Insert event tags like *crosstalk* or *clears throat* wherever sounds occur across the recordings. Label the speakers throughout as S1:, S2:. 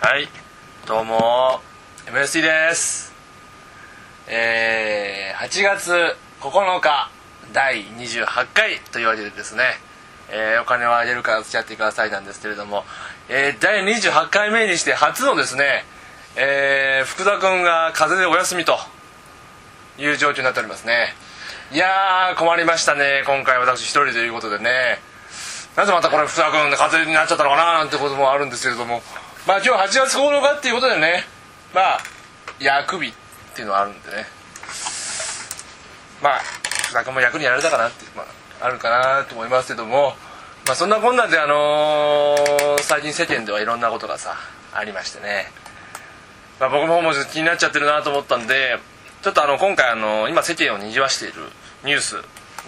S1: はいどうも MST ですえー、8月9日第28回というわけでですね、えーお金をあげるから付き合ってくださいなんですけれども、えー第28回目にして初のですね、えー福田君が風邪でお休みという状況になっておりますねいやー困りましたね今回私一人ということでねなぜまたこれ福田君が風邪になっちゃったのかななんてこともあるんですけれどもまあ今日8月9日っていうことでねまあ役日っていうのはあるんでねまあ福田君も役にやられたかなって、まあ、あるかなと思いますけども、まあ、そんなこんなであのー最近世間ではいろんなことがさありましてね、まあ、僕の方も気になっちゃってるなと思ったんでちょっとあの今回あの今世間を賑わしているニュース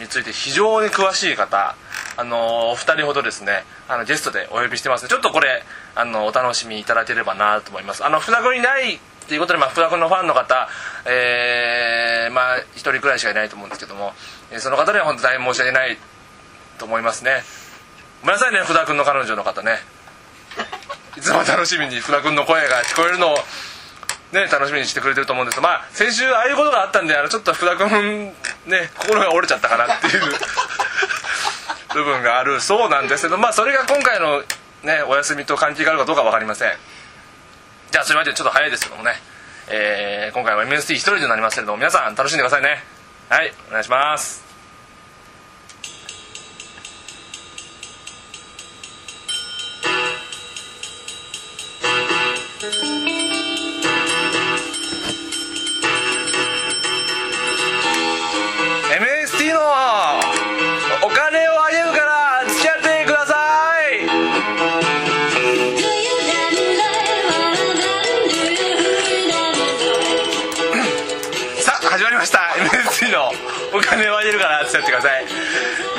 S1: について非常に詳しい方あのお二人ほどですねあのゲストでお呼びしてますのでちょっとこれあのお楽しみいただければなと思いますあの船子にないっていうことで、まあ、福田君のファンの方、えーまあ、一人くらいしかいないと思うんですけども、えーその方には本当大変申し訳ないと思いますねごめんなさいね福田君の彼女の方ねいつも楽しみに福田君の声が聞こえるのをね、楽しみにしてくれてると思うんですけどまあ先週ああいうことがあったんであのちょっと福田君ね心が折れちゃったかなって *laughs* いう部分があるそうなんですけどまあそれが今回のねお休みと関係があるかどうかは分かりませんじゃあそれまでちょっと早いですけどもね、えー今回は MST 一人になりますけれども皆さん楽しんでくださいねはいお願いします「MST のお金をあげるから付き合ってください」さあ始まりました MST のお金をあげるからってやってください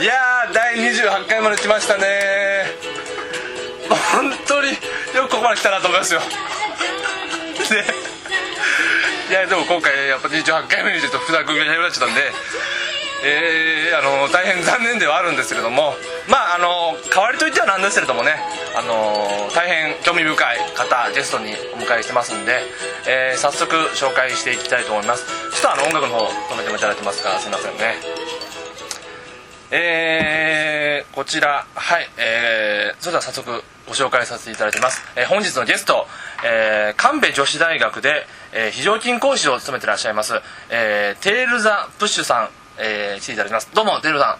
S1: いやー第28回まで来ましたね本当によくここまで来たなと思いますよねいやでも今回やっぱ28回目にちょっと福田君がいなくなっちゃったんでえーあの大変残念ではあるんですけれどもまああの代わりといってはなんですけれどもねあの大変興味深い方ゲストにお迎えしてますんで、えー早速紹介していきたいと思いますちょっとあの音楽の方止めてもいただきますからすいませんねえーこちらはいえーそれでは早速ご紹介させていただきます、えー本日のゲスト、えー神戸女子大学で、えー非常勤講師を務めてらっしゃいます、えーテール・ザ・プッシュさん、えー来ていただきますどうもテールさん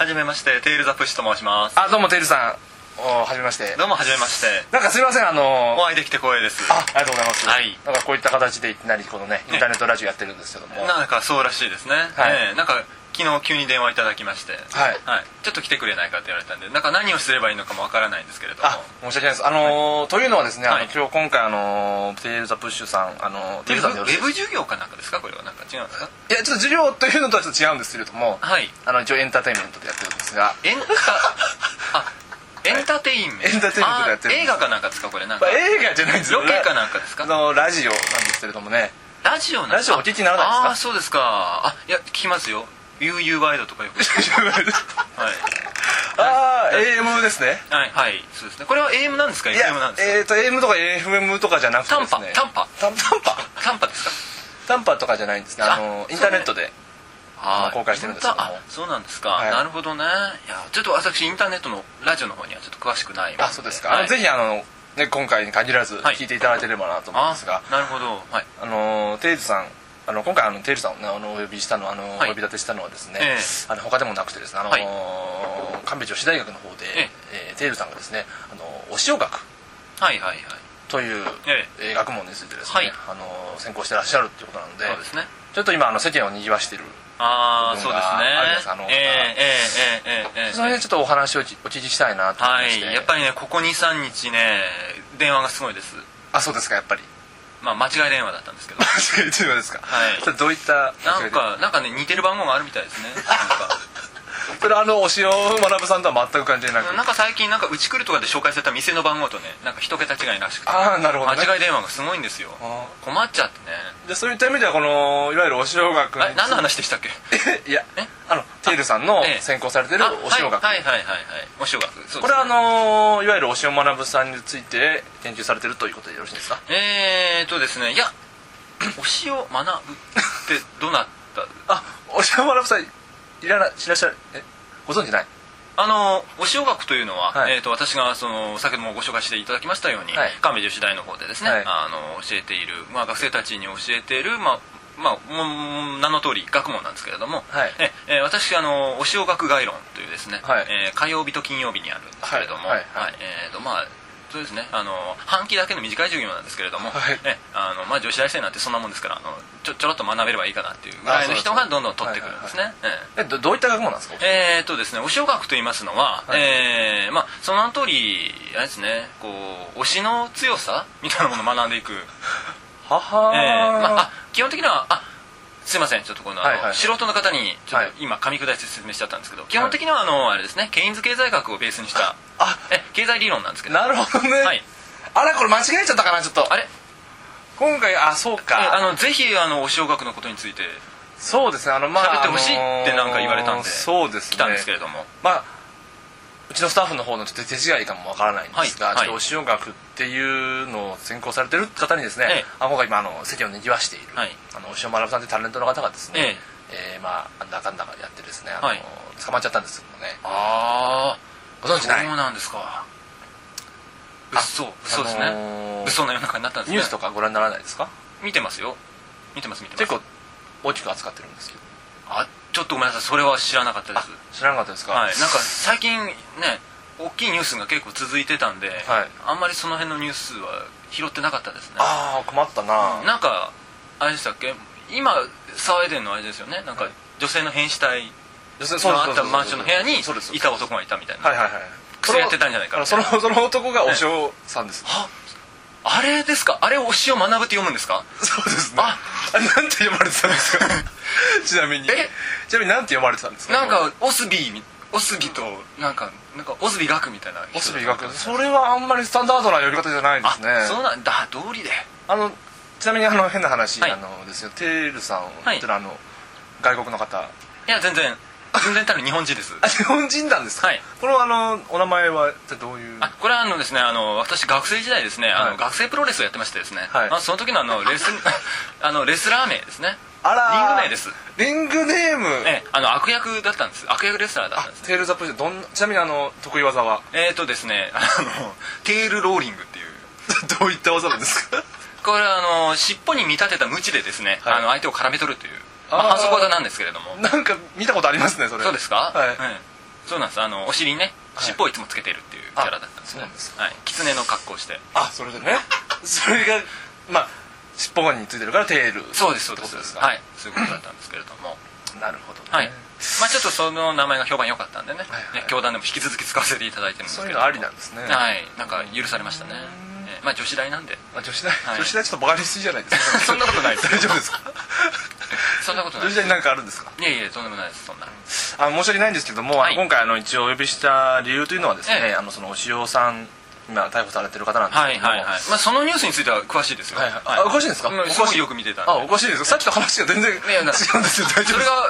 S2: はじめまして、テールザプッシュと申します。
S1: あどうもテールさんおはじめまして
S2: どうもはじめまして。
S1: なんかすいませんあのー
S2: お会いできて光栄です。
S1: あありがとうございます、
S2: はい
S1: なんかこういった形でいきなりこのねインターネットラジオやってるんですけども、
S2: なんかそうらしいですね。
S1: はい
S2: ええなんか昨日急に電話いただきまして、
S1: はい
S2: ちょっと来てくれないかって言われたんで、なんか何をすればいいのかもわからないんですけれども。
S1: あ申し訳ないですあのーというのはですねあの、
S2: はい
S1: 今日今回あのーテール・ザ・プッシュさんあのーテ
S2: ウ
S1: ール
S2: ェ
S1: さ
S2: ブ
S1: んでよろしいです
S2: ウェブ授業かなんかですかこれはなんか違うんですか
S1: いやちょっと授業というのとはちょっと違うんですけれども
S2: はい
S1: あの一応エンターテインメントでやってるんですが、
S2: エンタあエンターテインメ
S1: エン
S2: ント
S1: ターテインメントでやってる
S2: あ映画かなんかですかこれなん
S1: ま
S2: か
S1: あ、映画じゃないんですよ
S2: ロケかなんかです
S1: あ
S2: か
S1: のラジオなんですけれどもね
S2: ラジオなん
S1: ラジオお聞きにならないですか
S2: ああーそうですかあいや聞きますよ UU ワイドとかよく聞きますはい
S1: *laughs* ああ AM ですね
S2: はい、はい、そうですね。これは AM なんですか
S1: いや
S2: ?FM なんですか
S1: えっ、と AM とか FM とかじゃなくて
S2: 短
S1: です
S2: 波、
S1: ね
S2: 短波。
S1: 短短波
S2: 短波ですか
S1: 短波とかじゃないんですねあの
S2: あ
S1: インターネットで
S2: は
S1: 公開してるんですけども
S2: あ、そうなんですか。
S1: はい
S2: なるほどね。いや、ちょっと私、インターネットのラジオの方にはちょっと詳しくないもん
S1: あそうですか、
S2: はい
S1: あのぜひあの、ね、今回に限らず
S2: はい
S1: 聞いていただければなと思うん
S2: あ
S1: ですが、
S2: なるほど。はい。
S1: あのテイルさんあの今回あのテイルさんを、ね、あのお呼びしたのあの、
S2: はい
S1: お呼び立てしたのはですね、
S2: ええ
S1: あの他でもなくてですねあの、
S2: はい
S1: 神戸女子大学の方で、
S2: え
S1: えーテイルさんがですねあのお塩学
S2: はいはいはい。
S1: という、
S2: え
S1: えー学問についてですね、
S2: はい
S1: あの専攻してらっしゃるっていうことなので
S2: そうですね。
S1: ちょっと今あの世間を賑わしている
S2: ああ、そうですね
S1: ありますあの。
S2: ええええええええ
S1: その辺ちょっとお話をお聞きしたいなと思い
S2: は
S1: まして、
S2: い。やっぱりね、ここ2、3日ね、電話がすごいです。
S1: あそうですかやっぱり
S2: まあ、間違い電話だったんですけど。
S1: *laughs* 間違いというのですか、
S2: はい
S1: ちょっとどういった
S2: なんか、なんかね、似てる番号があるみたいですね。なんか。
S1: それはあの推しの学さんとは全く関係なく、
S2: なんか最近なんかうち来るとかで紹介された店の番号とねなんか一桁違いらしくて
S1: ああなるほど、ね、
S2: 間違い電話がすごいんですよ
S1: あ
S2: 困っちゃってね
S1: でそういった意味ではこのいわゆるお塩学
S2: あれ何の話でしたっけ
S1: *laughs* いや
S2: え
S1: あのテイルさんの
S2: ええ
S1: 専攻されてる
S2: あ
S1: お塩学、
S2: はいはいはいはいお塩学そうですね
S1: これはあのいわゆるお塩学さんについて研究されてるということでよろしいですか
S2: えーっとですねいや *clears throat* お塩学ぶってどなた
S1: あお塩学さんいらないいらっしゃるえご存知ない
S2: あのお塩学というのは、
S1: はい
S2: えー、と私がその先ほどもご紹介していただきましたように、
S1: はい
S2: 神戸女子大の方でですね、
S1: はい
S2: あの教えている、まあ、学生たちに教えている、まあまあ、もう名の通り学問なんですけれども、
S1: はい
S2: ええー私あのお塩学概論というですね、
S1: はい
S2: えー火曜日と金曜日にあるんですけれども、
S1: はいはいはい
S2: はいえーとまあそうですねあの半期だけの短い授業なんですけれども、
S1: はい
S2: えあのまあ、女子大生なんてそんなもんですからあのちょちょろっと学べればいいかなっていうぐらいの人がどんどん取ってくるんですね。え
S1: え
S2: え
S1: どどういった学問なんですか
S2: えー、とですね、お塩学と言いますのは、
S1: はい
S2: えーまあ、その通り、あれですね、こう、推しの強さみたいなものを学んでいく。
S1: はは
S2: えーまあ、
S1: ー
S2: あ基本的には、あ、すいません、ちょっとこの、あの
S1: はいはい
S2: 素人の方に、ちょ
S1: は
S2: っ
S1: い
S2: と今、噛み砕いて説明しちゃったんですけど、基本的には、あの、あれですね、ケインズ経済学をベースにした、
S1: あ
S2: え、経済理論なんですけど、
S1: なるほどね、
S2: はい。
S1: あらこれ間違えちゃったかなちょっと
S2: あれ
S1: 今回あそう
S2: え
S1: か
S2: あの、ぜひ、あの、お塩学のことについて
S1: そうですねあのまあ
S2: 喋ってほしいってなんか言われたんで
S1: あのーそうですね
S2: 来たんですけれども、
S1: まあうちのスタッフの方のちょっと手違いかもわからないんですが、
S2: はいはい
S1: ちょっとお塩学っていうのを専攻されてる方にですね、
S2: ええ
S1: あ今回今あの席をにぎわしている、
S2: はい
S1: あのお塩学さんというタレントの方がですね、
S2: え
S1: えーまあなんだかんだやってですねあの、
S2: はい
S1: 捕まっちゃったんですけどもね
S2: あ
S1: ご存知ない
S2: そうなんですか。嘘、嘘ですね。
S1: あのー
S2: 嘘の世の中になったんです
S1: ニ
S2: ね
S1: ュースとかご覧にならないですか
S2: 見てますよ見てます見てます
S1: 結構大きく扱ってるんですけど
S2: あちょっとごめんなさいそれは知らなかったで
S1: あ
S2: す
S1: 知らなかったですか、
S2: はいなんか最近ね大きいニュースが結構続いてたんで、
S1: はい
S2: あんまりその辺のニュースは拾ってなかったですね
S1: ああ困ったな、
S2: なんかあれでしたっけ今騒いでるのはあれですよねなんか女性の変死体
S1: そうそう
S2: の
S1: そ
S2: あ
S1: う
S2: っ
S1: そ
S2: た
S1: う
S2: マンションの部屋に
S1: そうです
S2: いた男がいたみたいな、
S1: はいはいはい
S2: 薬やってたんじゃないかみた
S1: そ
S2: い
S1: の
S2: な
S1: その男がお塩さんです、
S2: ああれですかあれを推しを学ぶって読むんですか
S1: そうです
S2: あ
S1: あなんて読まれてたんですか *laughs* ちなみに
S2: え
S1: ちなみになんて読まれてたんですか
S2: なんかオスビーみオスビとなんかなんかオスビ学みたいな人
S1: オスビー学それはあんまりスタンダードな読み方じゃないで
S2: あ
S1: すね
S2: そうなんだ道理で
S1: あのちなみにあの変な話、
S2: はい
S1: あのですよテールさんって
S2: はい
S1: いうのはあの外国の方
S2: いや全然全然多分日本人です
S1: あ日本人なんですか、
S2: はい
S1: このあのお名前は一体どういう
S2: あこれはあのですねあの私学生時代ですね、あ
S1: はい
S2: の学生プロレスをやってましてですね、
S1: はい
S2: まあ、その時のあの
S1: *laughs*
S2: レスあのレスラー名ですね
S1: あらー
S2: リング名です
S1: リングネーム、
S2: ええあの悪役だったんです悪役レスラーだったん
S1: あ
S2: ですね
S1: テールザポジションどんなちなみにあの得意
S2: *laughs*
S1: 技は
S2: えっ、ー、とですねあのテールローリングっていう
S1: どういった技なんですか
S2: これはあの尻尾に見立てた鞭でですね、
S1: はい
S2: あの相手を絡め取るという、ま
S1: あー
S2: あ、反則技なんですけれども
S1: なんか見たことありますねそれ
S2: そうですか
S1: はい
S2: うんそうなんですあのお尻にね尻尾をいつもつけてるっていうキャラだったんです
S1: あそ
S2: ね
S1: うなんです
S2: はい狐の格好をして
S1: あそれでねそれがまあ尻尾についてるからテール
S2: そうですそう
S1: って
S2: です
S1: ことですか
S2: はいそういうことだったんですけれども
S1: なるほどね、
S2: はいまあちょっとその名前が評判良かったんでね
S1: はいはい
S2: ね教団でも引き続き使わせていただいてるんです
S1: そう
S2: け
S1: いう
S2: れど
S1: の
S2: も
S1: ありなんですね、
S2: はいなんか許されましたねえまあ女子
S1: *laughs*
S2: 大なんで
S1: まあ、女子大、
S2: い
S1: 女子大ちょっとバカにしすぎじゃないです
S2: *laughs*
S1: か
S2: そんなことないです
S1: 大丈夫ですか
S2: そんなことない
S1: 女
S2: で
S1: 子
S2: す
S1: 大になんかあるんですか
S2: いやいやとんでもないですそんな
S1: あの申し訳ないんですけども、あの
S2: はい
S1: 今回あの一応お呼びした理由というのはですね、
S2: ええ
S1: あのそのお塩さん今逮捕されてる方なんです
S2: は
S1: け
S2: い
S1: ども
S2: はいはいまあそのニュースについては詳しいですよ
S1: はいはいあおかしいんですか
S2: うんすごいよく見てたんで
S1: あおかしいですよさっきと話が全然違
S2: いや
S1: うん
S2: な
S1: ですよ大丈
S2: そ
S1: 夫で
S2: れ
S1: す
S2: が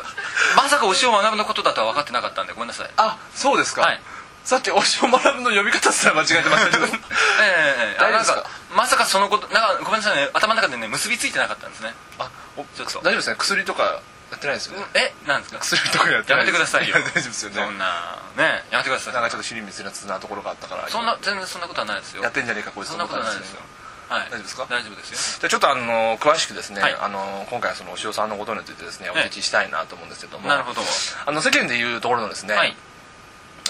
S2: まさかお塩を学ぶのことだとは分かってなかったんでごめんなさい
S1: あそうですか、
S2: はい
S1: さっきお塩学ぶの呼び方すら間違えてましたけ
S2: *laughs*
S1: ど
S2: ええええあ
S1: 大丈夫
S2: な
S1: で
S2: ん
S1: すか
S2: かまさかそのことなんかごめんなさいね頭の中でね結びついてなかったんですね
S1: あお
S2: ちょっと
S1: 大丈夫ですね薬とかやってないですよね、
S2: えなんですか
S1: 薬とかやって
S2: や
S1: な
S2: め
S1: い
S2: てくださいよ
S1: や *laughs* 大丈夫ですよね
S2: そんなねやめてくだ
S1: なん
S2: さ
S1: かちょっと尻滅裂なところがあったから
S2: いそんな全然そんなことはないですよ
S1: やってんじゃねえかこいつ
S2: そんなことはないですよはい
S1: 大丈夫ですか
S2: 大丈夫ですよ
S1: じゃあちょっとあの詳しくですね、
S2: はい
S1: あの今回そのお塩さんのことについてですねお
S2: ええ
S1: 聞きしたいなと思うんですけども、
S2: なるほど
S1: あの世間でいうところのですね、
S2: はい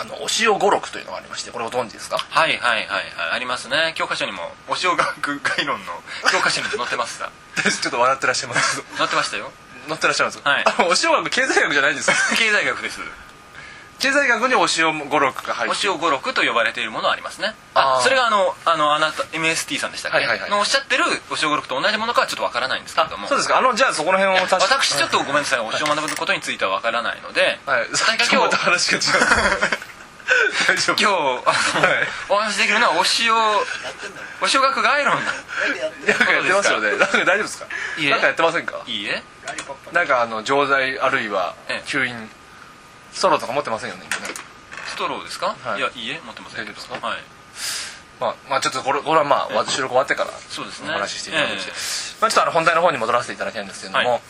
S1: あのお塩語録というのがありましてこれご存知ですか
S2: はいはいはいはいありますね教科書にもお塩学概論の教科書にも載ってました
S1: ちょっと笑ってらっしゃいます *laughs* けど
S2: 載ってましたよ
S1: 載ってらっしゃいます
S2: はい
S1: あのお塩学経済学じゃないんですか
S2: 経済学です
S1: 経済学にお塩56が入
S2: お
S1: って
S2: 塩五六と呼ばれているものはありますね
S1: あ
S2: あ
S1: ー
S2: それがあのあのあなた MST さんでしたっけ、
S1: はいはいはい
S2: のおっしゃってるお塩五六と同じものかはちょっとわからないんですけれども
S1: そうですかあのじゃあそこの辺を確か
S2: 私ちょっとごめんなさいお塩を学ぶことについてはわからないので、
S1: はいさっき
S2: 今
S1: また
S2: 日
S1: 話が違う大丈夫
S2: 今日あの、 *laughs*
S1: はい
S2: お話しできるのはお塩お塩学概論
S1: なんかやってますよねなんか大丈夫ですか
S2: いいえ
S1: なんかやってませんか
S2: いいえ
S1: なんかあの錠剤あるいは
S2: ええ
S1: 吸引ストローとか持ってませんよね今ね
S2: ストローですか、
S1: はい
S2: い、やいいえ持ってません
S1: 大丈
S2: けど
S1: 夫ですか
S2: はい
S1: まあ、まあちょっとこれこれはまあ私収録終わってから
S2: そうです
S1: お
S2: ね
S1: 話ししていただいて、
S2: ええ
S1: まあ、ちょっとあの本題の方に戻らせていただきたいんですけれども、
S2: は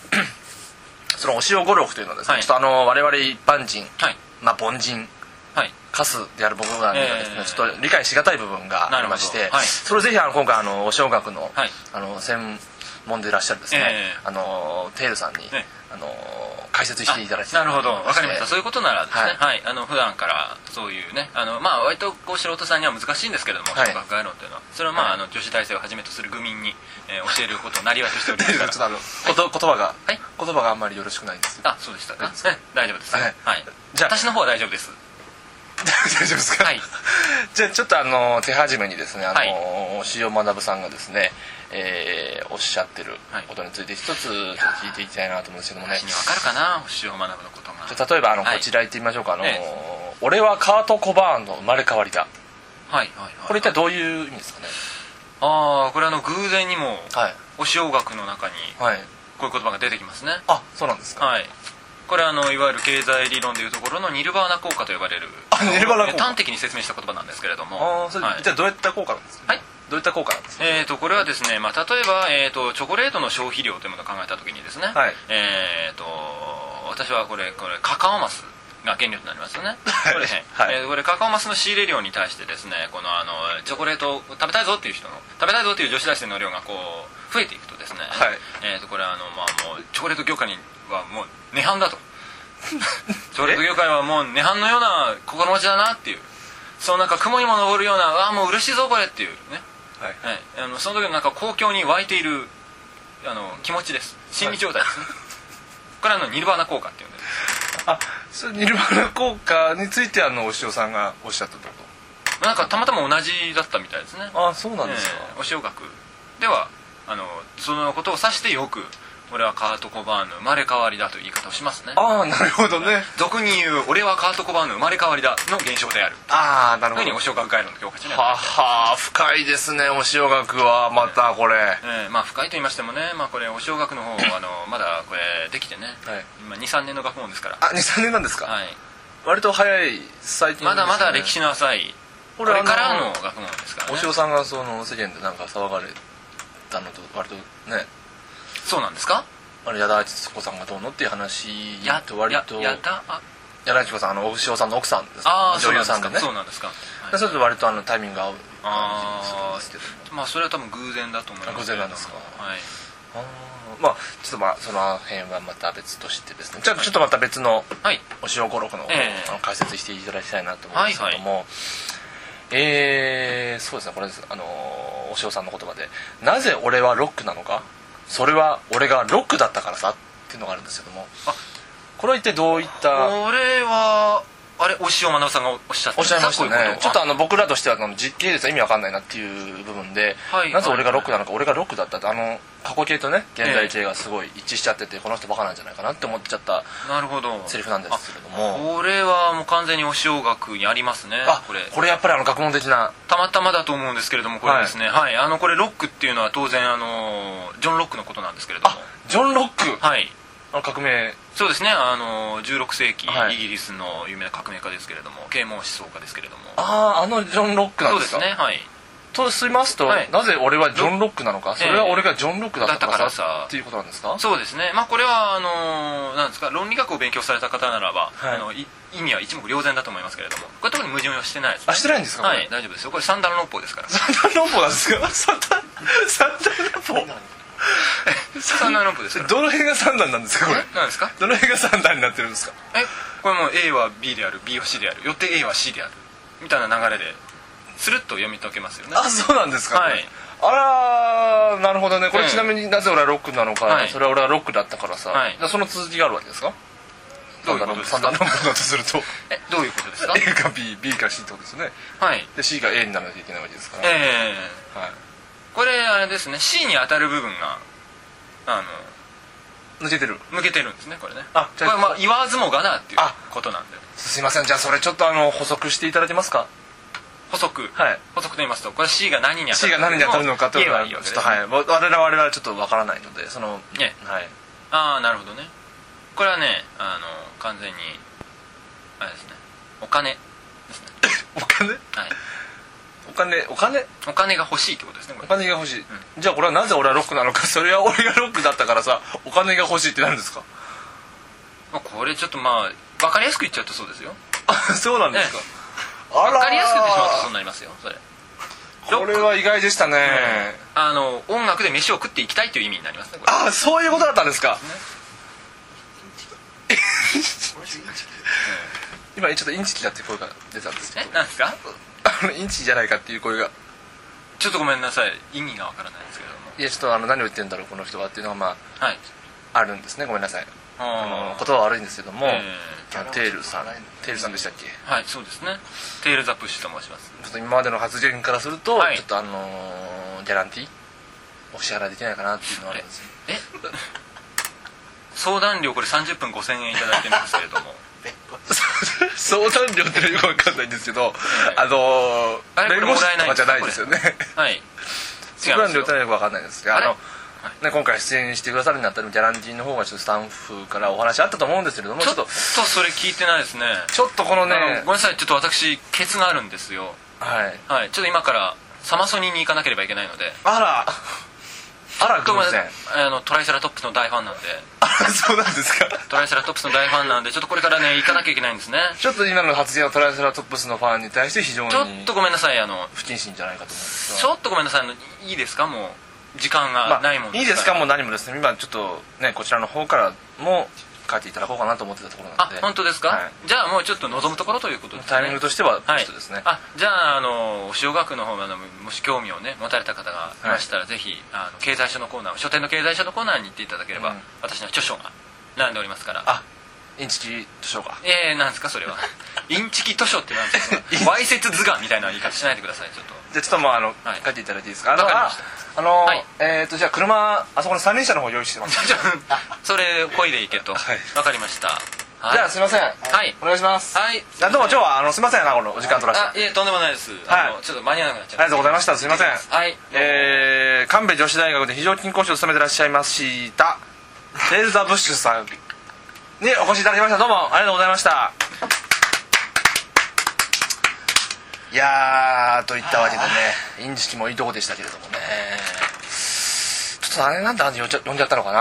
S1: *clears throat* そのお塩五六というのはですね、
S2: はい
S1: ちょっとあの我々一般人、
S2: はい
S1: まあ、凡人
S2: はい
S1: カスである僕らにはですね、
S2: ええ
S1: ちょっと理解しがたい部分がありまして、
S2: なるほどはい
S1: それをぜひあの今回あのお正学の,、
S2: はい
S1: あの専門でいらっしゃるですね、
S2: ええ
S1: あのテールさんに、
S2: ええ
S1: あの解説していただきた
S2: ないる
S1: と思い
S2: ほど
S1: まして
S2: わかりましたそういうことならですね
S1: はい
S2: はい、あの普段からそういうねあのまあ割とこう素人さんには難しいんですけれども
S1: はい
S2: 小学概論というのはそれはまあ
S1: はい
S2: あの女子大生をはじめとする愚民に、えー教えることをなりわいとしておりま
S1: テー
S2: す
S1: ル
S2: か
S1: さん
S2: ら
S1: ちょっとあのこと言葉が、
S2: はい
S1: 言葉があんまりよろしくないん
S2: *laughs*
S1: ですよ
S2: あそうでしたか、
S1: ですか
S2: ね大丈夫です
S1: は
S2: はいい、
S1: じゃあ
S2: 私の方は大丈夫です
S1: *laughs* 大丈夫ですか、
S2: はい
S1: じゃあちょっとあの手始めにですねあの、
S2: はい
S1: 塩学さんがですね、えーおっしゃってることについて一つちょっと聞いていきたいなと思うんですけどもね
S2: 私にわかるかな星を学ぶのことが
S1: じゃあ例えばあのこ
S2: はい
S1: ちら行ってみましょうか、あの
S2: え
S1: 俺はカート・コバーンの生まれ変わりだ
S2: はいはいはい
S1: これ一体どういう意味ですかね
S2: ああこれあの偶然にも
S1: はい
S2: お塩学の中に
S1: はい
S2: こういう言葉が出てきますね
S1: あそうなんですか
S2: はいこれあのいわゆる経済理論でいうところのニルバーナ効果と呼ばれる
S1: あニルバーナ効果
S2: 端的に説明した言葉なんですけれども
S1: ああそれ、
S2: はい
S1: じゃあどういった効果なんですか、
S2: はい
S1: どういった効果なんですか
S2: えー、とこれはですね、まあ、例えば、えー、とチョコレートの消費量というものを考えた時にですね、
S1: はい
S2: えー、と私はこれこれカカオマスが原料となりますよね、
S1: *laughs* はい
S2: これね
S1: はい
S2: えーこれカカオマスの仕入れ量に対してですねこのあのチョコレートを食べたいぞっていう人の食べたいぞっていう女子大生の量がこう増えていくとですね、
S1: はい
S2: えー、とこれあの、まあ、もうチョコレート業界にはもう涅槃
S1: *laughs*
S2: だとチョコレート業界はもう涅槃のような心持ちだなっていうそのなんか雲にも昇るようなああもう嬉しいぞこれっていうね
S1: はい
S2: はい、あのその時のなんか公共に湧いているあの気持ちです心理状態ですね、これはあのニルバーナ効果っていうんです
S1: あそれニルバーナ効果についてあのお塩さんがおっしゃったってこ
S2: なんかたまたま同じだったみたいですね
S1: とああそうなんですか、
S2: ええお塩学ではあのそのことを指してよく俺はカート・コバーンの生まれ変わりだという言い方をしますね
S1: ああなるほどね
S2: 俗に言う俺はカート・コバーンの生まれ変わりだの現象である
S1: ああなる
S2: というふうにお塩学概論の教科書に
S1: は
S2: は
S1: は深いですねお塩学はまたこれ
S2: ええまあ深いと言いましてもね、まあ、これお塩学の方あのまだこれできてね、
S1: はい
S2: 今23年の学問ですから
S1: あ23年なんですか、
S2: はい
S1: 割と早い最近ですね、
S2: まだまだ歴史の浅い
S1: こ
S2: こ
S1: れ
S2: れか
S1: あ
S2: らの学問ですから
S1: お
S2: ね
S1: 塩さんがその世間でなんか騒がれたのと割とね
S2: そうなんですか
S1: あの矢田敦子さんがどうのっていう話
S2: や
S1: と割と
S2: ややたあ
S1: 矢田敦子さんあのお塩さんの奥さんです
S2: あー
S1: 女優さんでね
S2: そうなんですか
S1: で
S2: そう
S1: それと割とあのタイミングが合う感じ
S2: あー
S1: もするんですけど
S2: なんですかはいまあそれは多分偶然だと思いますけれど
S1: 偶然な
S2: も
S1: んですか
S2: はい
S1: あーまあちょっとまあその辺はまた別としてですねじゃあちょっとまた別の
S2: はい
S1: お塩五六の,、
S2: ええ
S1: あの解説していただきたいなと思うんですけども、えーそうですねこれですあのーお塩さんの言葉で「なぜ俺はロックなのかそれは俺がロックだったからさ」っていうのがあるんですけども
S2: あ
S1: これは一体どういった
S2: これはあれお塩学さんがおっしゃって
S1: おっしゃいました
S2: こういう
S1: ね
S2: こ
S1: ちょっとあの僕らとしてはあの実系列は意味わかんないなっていう部分で、
S2: はい
S1: なぜ俺がロックなのか俺がロックだったってあの過去形とね現代形がすごい一致しちゃっててこの人バカなんじゃないかなって思っちゃった
S2: なるほど
S1: セリフなんですけれども
S2: これはもう完全にお塩学にありますね
S1: あ
S2: これ
S1: これやっぱりあの学問的な
S2: たまたまだと思うんですけれどもこれですねはい、あのこれロックっていうのは当然あのジョン・ロックのことなんですけれども
S1: あジョン・ロック
S2: はい
S1: あの革命
S2: そうですねあの16世紀、
S1: はい
S2: イギリスの有名な革命家ですけれども啓蒙思想家ですけれども
S1: あああのジョン・ロックなん
S2: そう
S1: で
S2: ですす
S1: か
S2: ねはい
S1: としますと、
S2: はい
S1: なぜ俺はジョン・ロックなのかそれは俺がジョン・ロックだったか
S2: だ
S1: ら
S2: ったから
S1: さ
S2: さ
S1: っていうことなんですか
S2: そうですねまあこれはあのなんですか論理学を勉強された方ならば、
S1: はい
S2: あのい意味は一目瞭然だと思いますけれどもこれ特に矛盾はしてないです、ね、
S1: あしてないんですかこれ
S2: はい大丈夫ですよこれ三段論法です
S1: *laughs*
S2: から
S1: サンダル論法なんですかサンダルサンダル論
S2: 三段論法ですか
S1: 法
S2: ら
S1: どの辺が三段なんですかこれ
S2: え何ですか
S1: どの辺が三段になってるんですか
S2: えこれもう A は B である B は C であるよって A は C であるみたいな流れでスルッと読み解けますよね
S1: あそうなんですか、これ
S2: はい
S1: あらーなるほどねこれ
S2: ええ
S1: ちなみになぜ俺はロックなのか、
S2: はい
S1: それは俺はロックだったからさ、
S2: はい
S1: だからその続きがあるわけですか
S2: どういう
S1: なの
S2: どういうこと
S1: そ
S2: ですか
S1: んな論文だとすると
S2: えどういうこと
S1: *laughs*
S2: ですか
S1: A か BB か C ってことですよね
S2: はい
S1: で C が A にならなきゃいけないわけですから、
S2: え
S1: は
S2: ー、これあれですね C に当たる部分があ
S1: い、抜けてる
S2: の抜けてるんですねこれね
S1: あ
S2: こ
S1: じ
S2: れ
S1: ゃあ
S2: はまあ言わずもがなっていう
S1: あ
S2: ことなんです
S1: いませんじゃあそれちょっとあの補足していただけますか
S2: 補足
S1: はい
S2: 補足と言いますとこれ C が何に当た
S1: C が
S2: る
S1: 何に当たるのかというのは
S2: 言えばいい
S1: ちょ
S2: わけ
S1: っ
S2: で
S1: と
S2: すね
S1: はい我々は我々はちょっとわからないのでその
S2: ね
S1: はい
S2: ああなるほどねこれはねあの完全にあれですねお金
S1: お金
S2: はい
S1: お金お金
S2: お金が欲しいってことですねこ
S1: お
S2: れ
S1: 金が欲しい、じゃあこれはなぜ俺はロックなのか *laughs* それは俺がロックだったからさお金が欲しいってなるんですか
S2: まあこれちょっとまあ分かりやすく言っちゃうとそうですよ
S1: あそうなんですか、あら
S2: 分かりやすく言ってしまうとそうなりますよそれ
S1: これは意外でしたね、
S2: あの音楽で飯を食っていきたいという意味になりますねこれ
S1: あそういうことだったんですか、 *laughs* 今ちょっとインチキだって声が出たんですけど
S2: えなんですか
S1: あのインチキじゃないかっていう声が
S2: ちょっとごめんなさい意味が分からないですけれども
S1: いやちょっとあの何を言ってんだろうこの人はっていうのはま
S2: はい
S1: ああるんですねごめんなさいあの
S2: あ
S1: 言葉は悪いんですけども、
S2: え
S1: あのテールさんテールさんでしたっけ
S2: ーはいそうですねテールザプッシュと申します
S1: ちょっと今までの発言からすると、
S2: はい
S1: ちょっとあのーギャランティーお支払いできないかなっていうのはあるんですよ
S2: え相談料これ30分5000円いただいてるんですけれど *laughs* も
S1: *laughs* 相談料ってのはよくわかんないんですけど、
S2: ええ
S1: あの
S2: あ
S1: ー、
S2: れ
S1: 弁護士とかじゃないですよ *laughs* ね
S2: はい違いますよ
S1: 相談料ってのはよくわかんないですがあ
S2: あれ
S1: の、ね、今回出演してくださるになったのギャランティーの方がちょっとスタッフからお話あったと思うんですけれども
S2: ち
S1: ち
S2: ょ
S1: ょ
S2: っ
S1: っ
S2: と
S1: と
S2: それ聞いてないですね
S1: ちょっとこのね
S2: あのごめんなさいちょっと私ケツがあるんですよ
S1: はい
S2: はいちょっと今からサマソニに行かなければいけないので
S1: あらあら
S2: ご
S1: 偶
S2: めんなさ
S1: 然
S2: いあのトライセラトップスの大ファンなんで
S1: あらそうなんですか
S2: トライセラトップスの大ファンなんでちょっとこれからね行かなきゃいけないんですね
S1: ちょっと今の発言はトライセラトップスのファンに対して非常に
S2: ちょっとごめんなさいあの
S1: 不謹慎じゃないかと思うんですが
S2: ちょっとごめんなさいあのいいですかもう時間
S1: ま
S2: が
S1: あ
S2: ないもん
S1: いいですか
S2: も
S1: もう何もですね今ちょっとねこちらの方からも書いていただこうかなと思ってたところな
S2: あ
S1: ので
S2: 本当ですか、
S1: はい
S2: じゃあもうちょっと望むところということですね
S1: タイミングとしてはちょ
S2: はい
S1: っとですね、
S2: あじゃああの塩学の方があのもし興味をね持たれた方がいましたら、ぜひあの経済書のコーナー書店の経済書のコーナーに行っていただければ、
S1: うん
S2: 私の著書が並んでおりますから
S1: あインチキ図書か
S2: えー、なんですかそ
S1: *laughs*
S2: れはインチキ図書ってなんですかわいせつ図画みたいな言い方しないでくださいちょっと
S1: じゃあちょっともうあの、
S2: はい
S1: 書いていただいていいですかあの
S2: わかりまし
S1: ああの、
S2: はい
S1: えっ、とじゃあ車あそこの三輪車の方用意してます
S2: ちょ *laughs* それ恋でいけとわ、
S1: はい
S2: かりましたはい
S1: じゃあすいません
S2: はい
S1: お願いします、
S2: はい
S1: じゃあどうも今日はあのすいませんなこのお時間取らせて
S2: あいえとんでもないです、あ
S1: は
S2: のちょっと間に合わなくなっち
S1: あ
S2: ゃ
S1: りがとうございま
S2: し
S1: したすいません
S2: はい
S1: えー、神戸女子大学で非常勤講師を務めてらっしゃいましたレーザーブッシュさんにお越しいただきましたどうもありがとうございましたいやーといったわけでねインチキもいいとこでしたけれどもねちょっとあれなんであんな呼んじゃ呼んじゃったのか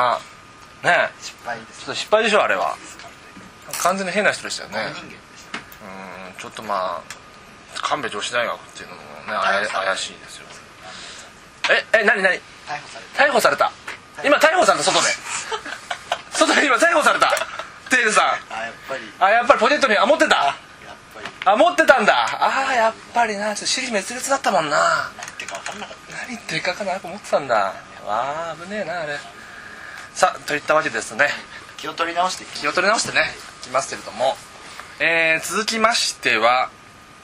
S1: なねえ
S3: 失敗です
S1: ちょっと失敗でしょあれは完全に変な人でしたよね
S3: 人間でした
S1: うんちょっとまあ神戸女子大学っていうのもねあや怪しいですよええ何何
S3: 逮捕され
S1: 逮捕された今逮捕された外で外で今逮捕されたテールさん
S3: たあやっぱり
S1: あやっぱりポケットにあ持ってた
S3: やっぱり
S1: あ持ってたんだあーやっぱりなちょっと尻滅裂だったもんな
S3: なんてか分かんなかった
S1: 何でかかなと思ってたんだわあ危ねえなあれさあといったわけですね
S3: 気を取り直して
S1: 気を取り直してねいきますけれども、えー続きましては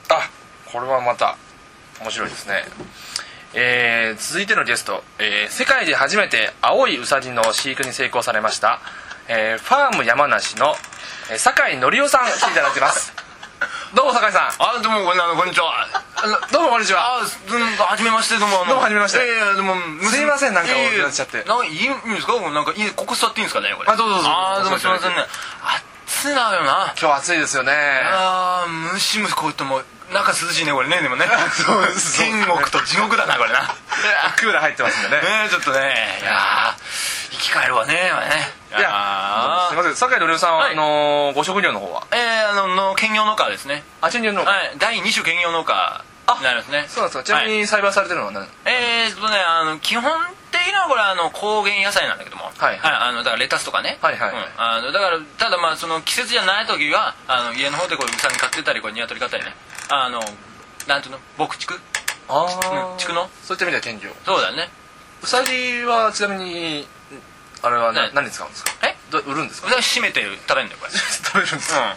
S1: あこれはまた面白いですね、えー続いてのゲスト、えー世界で初めて青いウサギの飼育に成功されました、えーファーム山梨の、えー酒井紀夫さん来ていただいてます *laughs* どうも酒井さん
S2: あどうもこんあのこんにちは
S1: あどうもこんにちは
S2: あどうもはじめましてどうも
S1: どうもはじめまして
S2: いやいやでも
S1: すいませんなんか
S2: いやいや
S1: お願いしちゃって
S2: なんいいいいんですかこれなんかいいここ座っていいんですかねこれ
S1: あどうぞどうぞ
S2: あーどうもすいませんね暑いなでもな
S1: 今日暑いですよね
S2: あームシムシこうやってもう中涼しいねこれねでもね
S1: *laughs* そうです
S2: 天国と地獄だなこれな
S1: クーラー入ってます *laughs* んでね
S2: ねえちょっとねいやー生き返るわね今ね
S1: いや
S2: あ
S1: す
S2: ー
S1: いません酒井紀夫さん、
S2: はい
S1: あのーご職業の方は
S2: えー、あのの兼業農家ですね
S1: あちにの、
S2: はい第2種兼業農家になりますね
S1: そうなんですかちなみ
S2: はい
S1: に栽培されてるのは何、
S2: えー、っとねあの基本的にはこれあの高原野菜なんだけども
S1: はい
S2: あのだからレタスとかね
S1: はいはい
S2: うん、あのだからただまあその季節じゃない時はあの家の方でこうウサギ飼ってたりこう鶏飼ったりねあのなんていうの牧畜
S1: ああ、
S2: うん畜の
S1: そういった意味では天井
S2: そうだね
S1: うさぎはちなみにあれはな
S2: ね
S1: 何に使うんですか
S2: え
S1: ど売るんですか
S2: だから締めて食べんだよこ
S1: *laughs*
S2: れ
S1: 食べるんですか、
S2: うん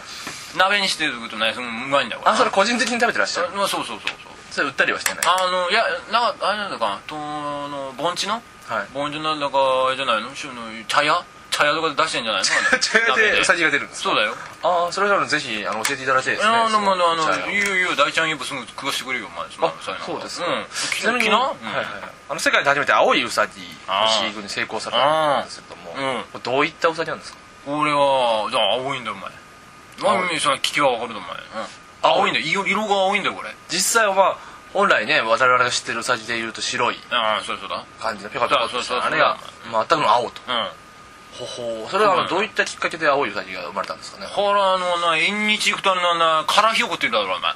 S2: 鍋にしてることないそのうまいんだよこれ
S1: あそれ個人的に食べてらっしゃる
S2: あまあそうそうそうそう
S1: それ売ったりはしてない
S2: あのいやなんかあれなんだかなとの盆地の
S1: はい
S2: 盆地のなんかあれじゃないのしゅの茶屋茶屋とかで出してんじゃないの
S1: 茶屋
S2: 鍋
S1: でウサギが出るんです
S2: そうだよ
S1: ああそれならぜひあの教えていただきたいですね
S2: あのもうあの
S1: 茶屋を
S2: いいよいいよ大ちゃん言えばすぐ食わしてくれるよお前
S1: あ
S2: そんなの
S1: そうです
S2: ん
S1: か
S2: き
S1: ちなみに、
S2: きな
S1: はいはいはいあの世界で初めて青いウサギの飼育に成功されたんですけども、
S2: あ
S1: これどういったウサギなんですか
S2: うん俺はじゃあ青いんだよお前
S1: 青い
S2: 何その聞きは分かるだお前、うん、青いんだよ色色が青いんだよこれ
S1: 実際はまあ本来ね我々が知ってるウサギでいうと白い
S2: ああそうだそうだ
S1: 感じのピョカピョカとし
S2: そうそうそう
S1: たあれが全くの青と
S2: うん
S1: ほほうそれはあ
S2: うん
S1: のどういったきっかけで青いウサギが生まれたんですかね
S2: ほらあのな縁日行くとあのなカラーひよこって言うだろお前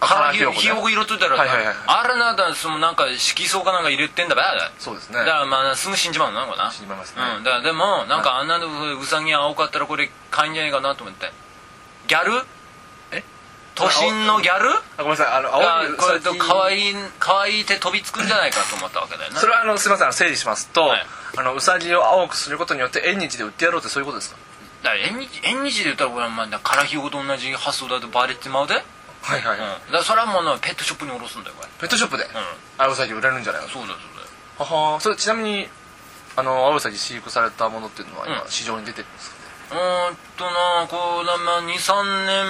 S2: カラーひよこ
S1: カラーひよこね
S2: 色っといたら、
S1: はいはいはい
S2: あれなんだそのなんか色相かなんか入れてんだば
S1: そうですね
S2: だからまあすぐ死んじまうのなこれな
S1: 死にまいますね、
S2: うんだからでもなんかあんなのうさぎ青かったらこれ買えんじゃないかなと思ってギャル
S1: え
S2: 都心のギャル
S1: あごめんなさいあの青
S2: が
S1: いウ
S2: こ
S1: サ
S2: れ
S1: ギ
S2: と可愛い可愛い手飛びつくんじゃないかと思ったわけだよな
S1: それはあのすみませんあの整理しますと、
S2: はい
S1: あのウサギを青くすることによって縁日で売ってやろうってそういうことですか
S2: だから縁日縁日で言ったらこれはまあカラヒヨと同じ発想だとバレてまうで、うん、
S1: はいはい
S2: だからそれはもうなペットショップに卸すんだよこれ
S1: ペットショップで、
S2: うん
S1: 青ウサギ売れるんじゃないの
S2: そうだよそうだよ
S1: ははそれちなみにあの青ウサギ飼育されたものっていうのは今、
S2: うん
S1: 市場に出てるんですかね
S2: うーんとなこうな、まあ、23年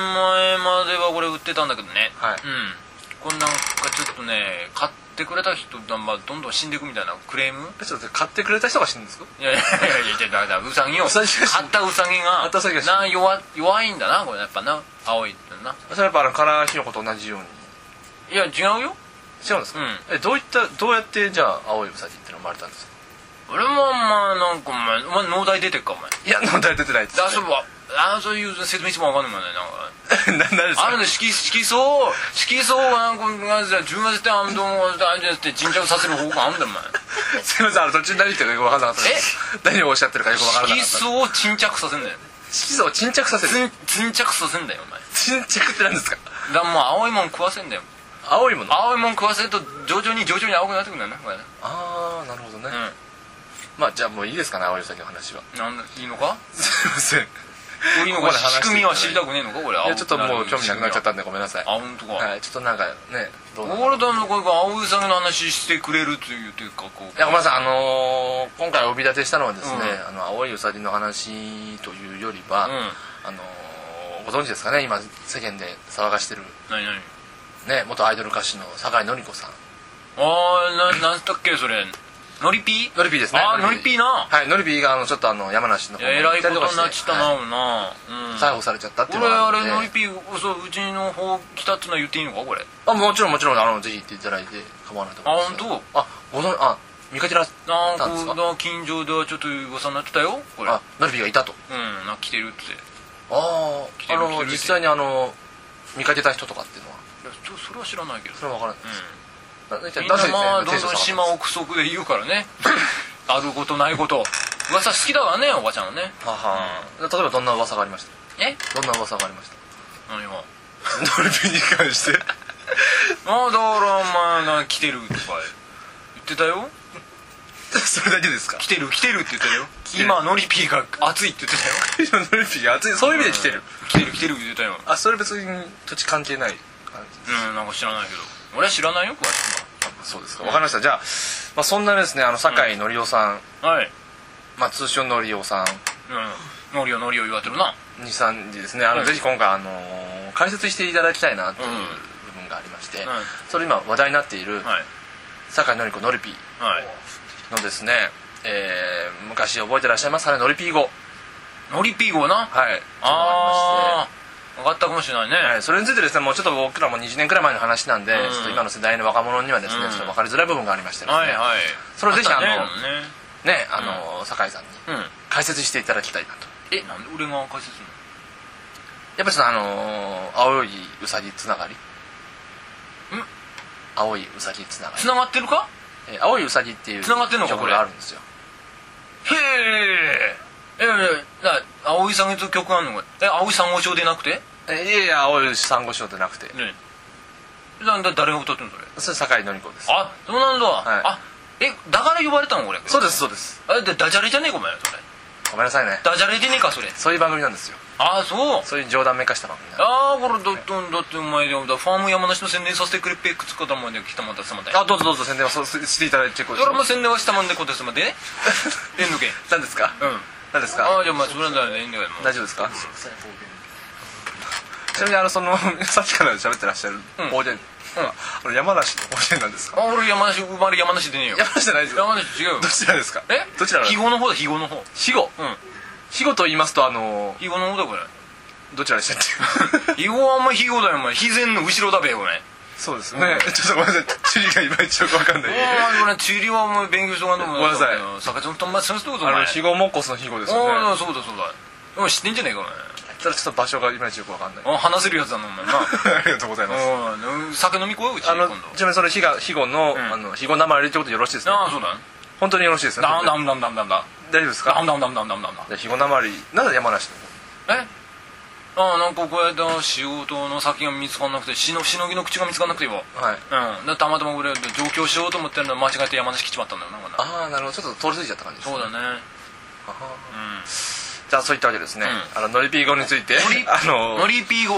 S2: 前まではこれ売ってたんだけどね
S1: はい
S2: うんこれなんかちょっとね買ってくれた人が、まあ、どんどん死んでいくみたいなクレーム
S1: えちょっと待って買ってくれた人が死ぬんですか
S2: いやいやいやいやいやだからウサギを
S1: ウサギが死ぬ
S2: 買ったウサギ
S1: 買
S2: が
S1: ったウサギが死ぬ
S2: な弱弱いんだなこれやっぱな青いってな
S1: それはやっぱあのカラーひよこと同じように
S2: いや違うよ
S1: 違うんですか、
S2: うん
S1: えどういったどうやってじゃあ青いウサギってのは生まれたんですか
S2: 俺もまあなんかお前お前農大出てっかお前
S1: いや問題出てないです
S2: あそうばあそういう説明しても分かんないもんねなんか
S1: *laughs* ななんです
S2: あ
S1: か
S2: るの色色相を色相をなんかなんか自分でてあんどんあんじゃって沈着させる方法があんだよお前
S1: すいませんあの途中何言ってるかよく分からなかったです何をおっしゃってるかよく分からなかっ
S2: 色
S1: た
S2: 相を沈着させんだよ
S1: 色素を沈着させる
S2: つん沈着させんだよお前
S1: 沈着って何ですか
S2: だからもう青いもん食わせんだよ
S1: 青いものあ
S2: 青いもん食わせると徐々に徐々に青くなってくるんだよなこれね
S1: あーなるほどね、
S2: う
S1: まあじゃあもういいですかね青いウサギの話
S2: *laughs*
S1: は
S2: んなんだいいのか
S1: すいませんい
S2: いいの
S1: ここ
S2: か
S1: まで話して
S2: 仕組みは知りたくねえのかこれ
S1: やちょっともう興味なくなっちゃったんでごめんなさい
S2: あ本当か、
S1: はい、ちょっとなんかね、どうなのい
S2: 俺だのこれが青いさんの話してくれるというというかこう
S1: や、ごめんなさい、あのー今回お呼び立てしたのはですね、
S2: うん
S1: あの、青いウサギの話というよりは、
S2: うん
S1: あのーご存知ですかね、今、世間で騒がしてる、
S2: 何何
S1: ね、元アイドル歌手の酒井のり子さん。
S2: ああななんだっけそれのりぴ
S1: のりぴーですね。
S2: ああのりぴーな
S1: はい、のりぴーが、あの、ちょっとあの、山梨の
S2: い
S1: 方
S2: や
S1: 行
S2: えら
S1: っ
S2: い
S1: た
S2: こ
S1: り
S2: と
S1: か
S2: に
S1: して
S2: なっちゃっ
S1: は
S2: たな、
S1: い
S2: もうな、うん、
S1: 逮捕されちゃったっていう
S2: 俺あ
S1: がるん
S2: れ
S1: で
S2: のりぴーそううちの方来たってのは言っていいのかこれ
S1: あ、もちろんもちろん、あの、ぜひ行っていただいて構わないと思います。
S2: あ本
S1: 当あ、ご存あ、見かけられ
S2: なん
S1: たんです
S2: か
S1: か
S2: な近所ではちょっと噂になってたよこれ
S1: あ、のりぴーがいたと。
S2: うんなんか来てるって
S1: あ
S2: 来
S1: あ、
S2: て
S1: あ
S2: る
S1: の、
S2: 来てる
S1: 実際にあの、見かけた人とかっていうのは、
S2: いやちょそれは知らないけど
S1: それは分からない。
S2: うん
S1: ななぜ
S2: みんな
S1: ですね
S2: まあど
S1: テン
S2: ん
S1: シ
S2: どん
S1: ョン
S2: 島憶測で言うからね *laughs* あることないこと噂好きだわねおばちゃんはね
S1: はは例えばどんな噂がありまし
S2: え
S1: たどんな噂がありました
S2: 何が
S1: ドルビーに関して
S2: まあだからお前な来てるとか言ってたよ
S1: *laughs* それだけですか
S2: 来てる来てるって言ってたよ
S1: てる
S2: 今ノリピーが熱いって言ってたよ
S1: 今ドルビーが *laughs* 熱いそういう意味で来てる、
S2: うん来てる来てるって言ってたよ
S1: あそれ別に土地関係ない感じ
S2: うんなんか知らないけど俺は知らないよ詳し
S1: そうですかわかりましたじゃあ、まあ、そんなですねあの酒井のりおさん、
S2: くははい
S1: まあ、通称のりおさ
S2: うんノリをノリを言われてるなん
S1: 23時ですねあの、
S2: うん
S1: ぜひ今回、あのー解説していただきたいなという
S2: うん
S1: 部分がありまして、
S2: はい
S1: それ今話題になっている
S2: はい
S1: 酒井のり子のりぴー
S2: はい
S1: のですね、えー昔覚えてらっしゃいますかねのりぴー語
S2: ノリピー語な
S1: はい
S2: ああ分かったかもしれないね
S1: はいそれについてですねもうちょっと僕らも20年くらい前の話なんで、
S2: うん
S1: ちょっと今の世代の若者にはですね、
S2: うん
S1: ちょっと分かりづらい部分がありましてですね、
S2: はいはい
S1: それをぜひあの
S2: あったね
S1: ねあの、酒井さんに
S2: うん
S1: 解説していただきたいなと
S2: えなんで俺が解説するの
S1: やっぱりそのあのー青いウサギつながり青いウサギつながり
S2: つ、ながってるか
S1: えー青いウサギっていう
S2: 繋がってんのかこ
S1: 曲
S2: れ
S1: があるんですよ
S2: へええだ青いさんと曲あんのこれえ青い三号調でなくて
S1: えーいやいや青いサンゴ礁じゃなくて
S2: ねだだ誰が歌ってんのそれ
S1: それ酒井のり子です
S2: あそうなんだ、
S1: はい
S2: あえだから呼ばれたのこれ
S1: そうですそうです
S2: あでダジャレじゃねえかお前それ
S1: ごめんなさいね
S2: ダジャレでねえかそれ
S1: そういう番組なんですよ
S2: ああそう
S1: そういう冗談めかした番組なんで
S2: ああこれだってだってお前でファーム山梨の宣伝させてくれペックつかたまで来たまたさまた
S1: あどうぞどうぞ宣伝はそうしていただいてこい
S2: 俺も宣伝はしたまんでこたつまでねえんのけん
S1: 何ですか
S2: うん
S1: 何です
S2: あ
S1: か
S2: あじゃあまあそれならええんだけども
S1: 大丈夫ですか
S3: 臭い方言
S1: ちなみにあのその *laughs* さっきから喋ってらっしゃる
S2: ん
S1: 方言、あの山梨の方言なんですか
S2: あ俺山梨生まれ山梨でねえよ
S1: 山梨じゃないですか
S2: 山梨違うよ
S1: どちらですか
S2: え
S1: どちらなんで
S2: 肥
S1: すか
S2: 後の方だ肥後の方
S1: 肥後
S2: うん
S1: 肥後と言いますとあの
S2: 肥後の方だこれ
S1: どちらでしたっけ
S2: 肥後はあんま肥後だよお前肥前の後ろだべこれ
S1: そうですねちょっとごめんなさい地理がいまいちよくわかんない
S2: お前地理はお前勉強しとかんとも
S1: ごめんなさい
S2: 坂ちゃんとんま先生ってことお
S1: あ
S2: 前
S1: の肥後もっこすの肥後ですよ
S2: あ
S1: ね
S2: あそうだそうだお前知ってんじゃねえかお
S1: ただちょっと場所がいまいちよくわかんない
S2: 前あ話せるやつだなお前な
S1: *laughs* ありがとうございます
S2: うん酒飲み来よううち
S1: あ
S2: 今
S1: の
S2: 度
S1: ちなみにその肥後肥後の,、
S2: ん
S1: あの肥後生入れってことでよろしいですね
S2: ああそうだ
S1: 本当によろしいですね
S2: ダンダンダンダンダンダン
S1: 大丈夫ですか
S2: ダンダンダンダンダンダン
S1: じゃあ肥後なまりなんで山梨の
S2: えああなんかこうやって仕事の先が見つかんなくてしのしのぎの口が見つかんなくてよ
S1: はい
S2: うんでたまたま俺上京しようと思ってるのに間違えて山梨来ちまったんだよなこんな
S1: ああなるほどちょっと通り過ぎちゃった感じです
S2: そうだね
S1: じゃあそういったわけですね、
S2: う
S1: あのノリピー語について
S2: ノリ
S1: あの
S2: ノリピー語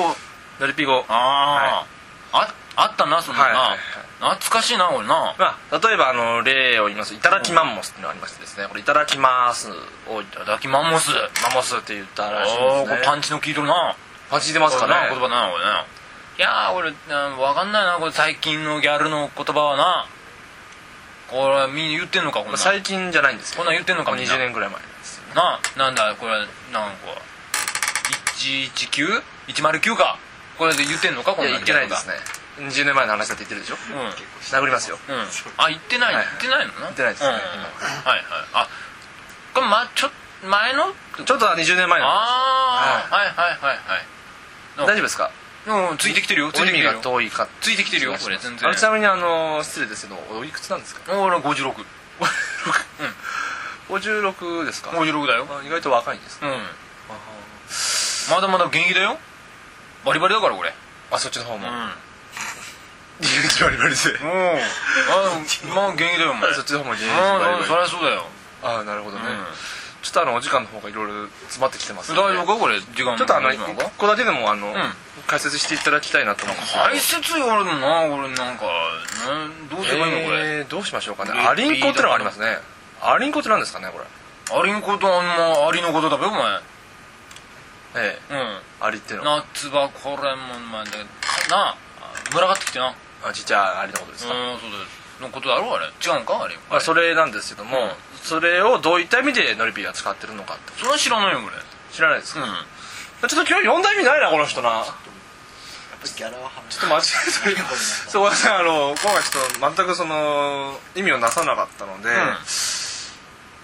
S1: ノリピー語
S2: ああああったなそんなの
S1: はいは
S2: ない懐かしいな俺な
S1: まあ例えばあの例を言いますと「いただきマンモス」っていうのがありましてですねこれ「いただきます」をいた
S2: いた
S1: だ
S2: だ
S1: き
S2: きマンモス
S1: マンモスって言った
S2: あ
S1: らしいん
S2: あこ
S1: です
S2: れ
S1: ね
S2: パンチの効いとるな
S1: パンチ出ますかね
S2: 言葉だな俺ないやー俺な分かんないなこれ最近のギャルの言葉はなこれみんな言ってんのかこん
S1: まあ
S2: なん
S1: 最近じゃないんですよ
S2: こんなん言ってんのかみんな
S1: 20年ぐらい前ですよね
S2: ななんだこれなんか 119?109 かこれで言ってんのかこん
S1: い
S2: なん
S1: や言ってないですね20年前の話だって言ってるでしょ
S2: うん、うん、
S1: 殴りますよ
S2: あ言ってない
S1: はい
S2: 言ってないのな言
S1: ってないですね
S2: はいはいあこれまちょ前の
S1: ちょっと20年前の話
S2: ああ、はい、はいはいはい
S1: 大丈夫ですか
S2: うんついてきてるよつい
S1: お
S2: てきて
S1: 耳
S2: る
S1: が
S2: よ
S1: 遠いか
S2: ついてきてるよこれ全
S1: あの
S2: 然
S1: ちなみにあの失礼ですけどおいくつなんですか
S2: 俺は56
S1: 56ですか
S2: 56だよ
S1: あ意外と若いんですね
S2: うんまだまだ現役だよバリバリだからこれ
S1: あそっちの方 *laughs* も
S2: うん
S1: バリバリでそ
S2: あまあ現役だよお前
S1: っちの方も現役バリ
S2: うんうんそ
S1: バリ
S2: りゃそうだよ
S1: ああなるほどね
S2: うん
S1: ちょっとあのお時間の方がいろいろ詰まってきてます
S2: 大
S1: ので
S2: 丈夫かこれ時間
S1: ちょっとあの
S2: 大丈夫な
S1: ここだけでもあの
S2: ん
S1: 解説していただきたいなと思うんですけど
S2: 解説言われるのな俺なんかなんどうすればいいのこれ
S1: えーどうしましょうかね
S2: リピート
S1: アリンコってのがありますねアリンコって何ですかねこれ
S2: アリのことあんまアリのことだべお前
S1: ええ
S2: うん
S1: アリっていうのは
S2: 夏場これもまあだけどなあ群がってきてなうん
S1: あちっちゃいアリのことです
S2: そう
S1: か
S2: だよのことだろあれ違うんかあれ
S1: まあそれなんですけども
S2: うん
S1: それをどういった意味でノリピーが使ってるのかって
S2: それは知らないよこれ
S1: 知らないですか
S2: うん
S1: ちょっと今日読んだ意味ないなこの人な
S3: やっぱギャラは話
S1: ちょっと間違えた *laughs* そうごめんなさいあの今回ちょっと全くその意味をなさなかったので、ギ
S2: ん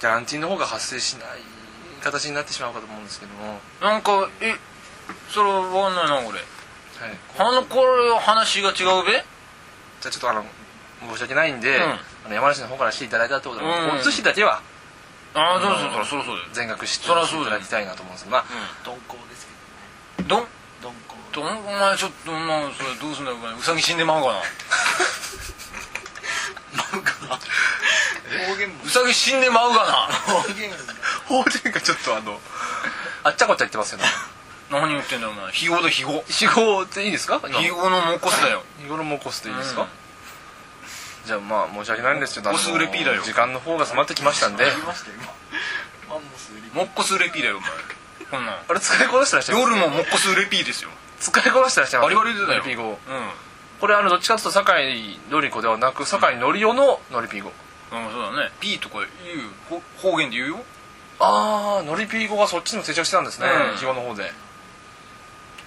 S1: ャランティーの方が発生しない形になってしまうかと思うんですけども、はい、
S2: なんかえそれわかんないなこれあのこれ話が違うべ
S1: じゃあちょっとあの申し訳ないんで、
S2: うん
S1: あの山梨の方からしていただいたってことで、
S2: うん
S1: 交通費だけは
S2: ああそうそうそうそうそう
S1: 全額してい
S2: そ
S1: た
S2: りゃ
S1: だ
S2: そうだよ
S1: きたいなと思うんですけどまあ
S3: 鈍行ですけ
S2: そうどん
S3: どね鈍
S2: どんお前ちょっとなそれどうすんだよお前ウサギ死んでまうかな
S3: 行方言も
S2: ウサギ死んでまうか
S3: 方言も
S1: 法人がちょっとあのあっちゃこっちゃ言ってますよね
S2: な何言ってんだよお前肥後だ肥後
S1: 非合っていいですか今
S2: 肥後のモコスだよ
S1: 日頃も起こすといいですか、
S2: うん
S1: じゃあまあ申し訳ないんですけどあの
S2: おすぐれ P だよ
S1: 時間の方が迫ってきましたんで
S3: ありましたよ今マンモス売り
S2: モッコスレピーだよお前こんなん
S1: あれ使いこなしてらっしゃいます
S2: 夜もモッコスレピーですよ
S1: 使いこなしてらっしゃいます
S2: バリバリだよ
S1: ノリピー語
S2: う
S1: これあのどっちかというと酒井紀子ではなく酒井紀夫のノリピー語
S2: ん、うん、そうだねピーとか言うほ方言で言うよ
S1: ああノリピー語がそっちにも成長してたんですね
S2: うん
S1: 日語の方で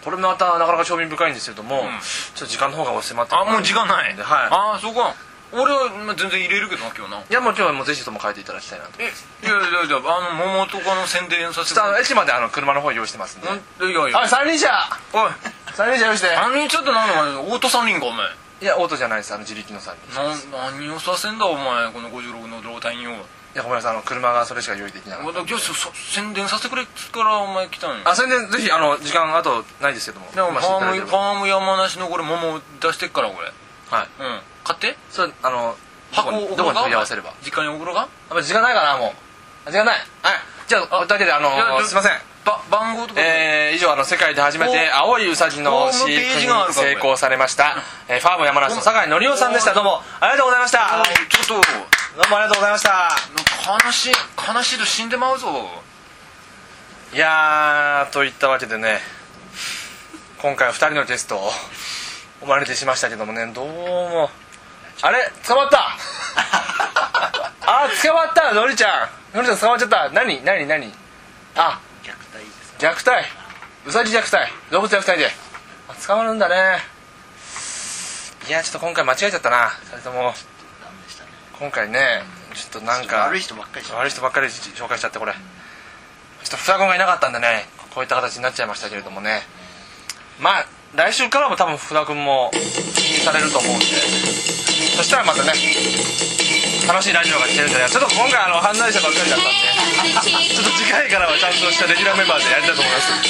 S1: これまたなかなか興味深いんですけども、
S2: ん
S1: ちょっと時間の方が押してまって
S2: あもう時間ない
S1: はい
S2: ああそうか俺はまあ全然入れるけどな今日ない
S1: やもう今日はもうぜひとも書いていただきたいなと
S2: えいやいやいやあの桃とかの宣伝させて
S1: 下
S2: も
S1: の
S2: ら
S1: 駅まであの車の方用意してますんで、
S2: うんいやいや
S1: あ三輪車
S2: おい
S1: 三輪車用意して
S2: あのちょっとなんだお前オート三輪かお前
S1: いやオートじゃないですあの自力の三輪車
S2: な何をさせんだお前この56の老体によ
S1: いやごめんなさいあの車がそれしか用意できなか
S2: ま
S1: った
S2: だ今日そそ宣伝させてくれっつうからお前来たのよ
S1: あそれでぜひあの時間あとないですけども
S2: でもフ
S1: 読ませていただけれ
S2: ァームフ
S1: ば
S2: ァーム山梨のこれ桃出してっからこれ
S1: はい
S2: うん買って
S1: それあのど
S2: 箱
S1: こ
S2: を
S1: に
S2: 送
S1: どこ
S2: ろう
S1: に
S2: か
S1: 問い合わせれば
S2: 実家に送ろうか
S1: やっぱ時間ないかなもうあ時間ないはいじゃあ
S2: あ
S1: だけであの
S2: いやちょ
S1: すいません
S2: ば番号とか、
S1: えー以上あの世界で初めて青いウサギの飼育
S2: ホームページがあ
S1: に
S2: るから
S1: 成功されました、えーファーム山梨の酒井紀夫さんでしたどうもありがとうございました
S2: あちょっと
S1: どうもありがとうございました
S2: なんか悲しい悲しいと死んでまうぞ
S1: いやーといったわけでね今回は2人のゲストをお招きしましたけどもねどうもあれ捕まった
S3: *laughs*
S1: あー捕まったのりちゃんのりちゃん捕まっちゃった何何何あ
S3: 虐待です
S1: 虐待うさぎ虐待動物虐待であ捕まるんだねいやちょっと今回間違えちゃったなそれとも
S3: ダメでしたね
S1: 今回ねちょっとなんか
S3: 悪い人ばっかりじゃん
S1: 悪い人ばっかり紹介しちゃってこれちょっと双子がいなかったんでねこういった形になっちゃいましたけれどもねまあ来週からも多分福田君も気にされると思うんでそしたらまたね楽しいラジオが聞けるんじゃないかちょっと今回あの犯罪者ばっかりだったんで *laughs* ちょっと次回からはちゃんとしたレギュラーメンバーでやりたいと思います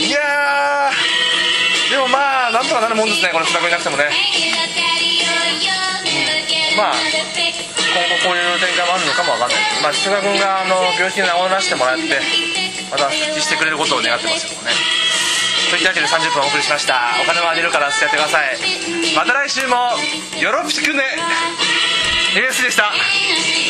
S1: いやーでもまあなんとかなるもんですねこの福田君いなくてもね
S4: まあ
S1: 今後こういう展開もあるのかもわかんないまあ福田君があの病気に治らせてもらってまた復帰してくれることを願ってますけどもねといったわけで30分お送りしましたお金もあげるから捨ててくださいまた来週もよろしくね AS でした
S4: 「